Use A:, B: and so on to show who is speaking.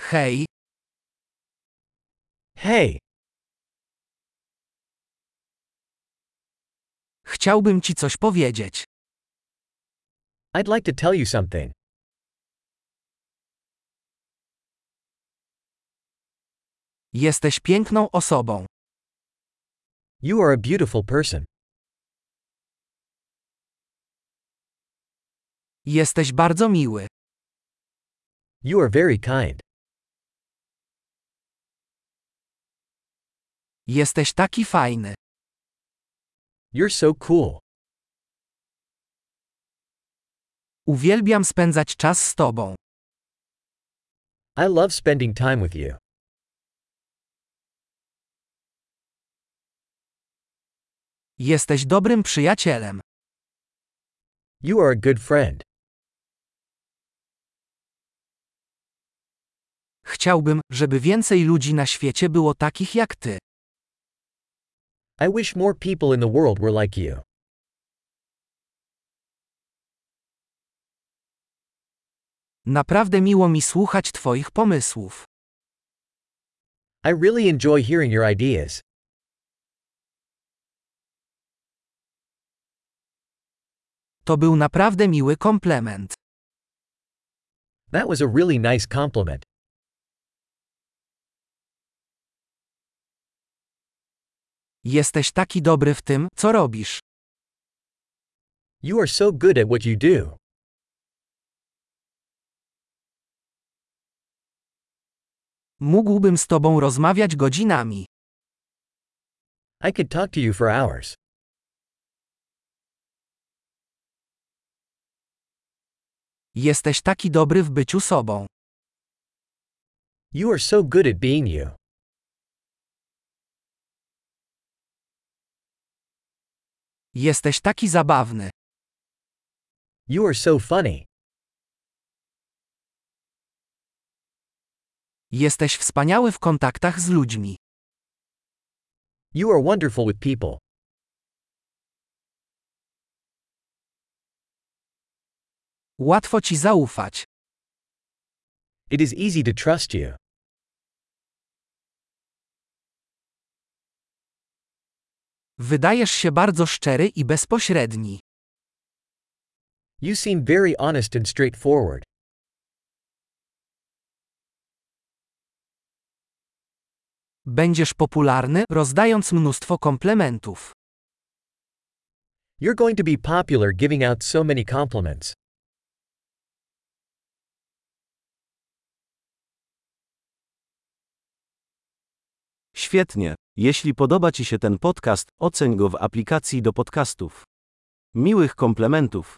A: Hej,
B: Hej,
A: chciałbym ci coś powiedzieć.
B: I'd like to tell you something.
A: Jesteś piękną osobą.
B: You are a beautiful person.
A: Jesteś bardzo miły.
B: You are very kind.
A: Jesteś taki fajny.
B: You're so cool.
A: Uwielbiam spędzać czas z tobą.
B: I love spending time with you.
A: Jesteś dobrym przyjacielem.
B: You are a good friend.
A: Chciałbym, żeby więcej ludzi na świecie było takich jak ty.
B: I wish more people in the world were like you.
A: Naprawdę miło mi słuchać twoich pomysłów.
B: I really enjoy hearing your ideas.
A: To był naprawdę miły komplement.
B: That was a really nice compliment.
A: Jesteś taki dobry w tym, co robisz.
B: You are so good at what you do.
A: Mógłbym z tobą rozmawiać godzinami.
B: I could talk to you for hours.
A: Jesteś taki dobry w byciu sobą.
B: You are so good at being you.
A: Jesteś taki zabawny.
B: You are so funny.
A: Jesteś wspaniały w kontaktach z ludźmi.
B: You are wonderful with people.
A: Łatwo ci zaufać.
B: It is easy to trust you.
A: Wydajesz się bardzo szczery i bezpośredni.
B: You seem very honest and straightforward.
A: Będziesz popularny, rozdając mnóstwo komplementów.
B: You're going to be popular giving out so many compliments.
C: Świetnie. Jeśli podoba Ci się ten podcast, oceń go w aplikacji do podcastów. Miłych komplementów.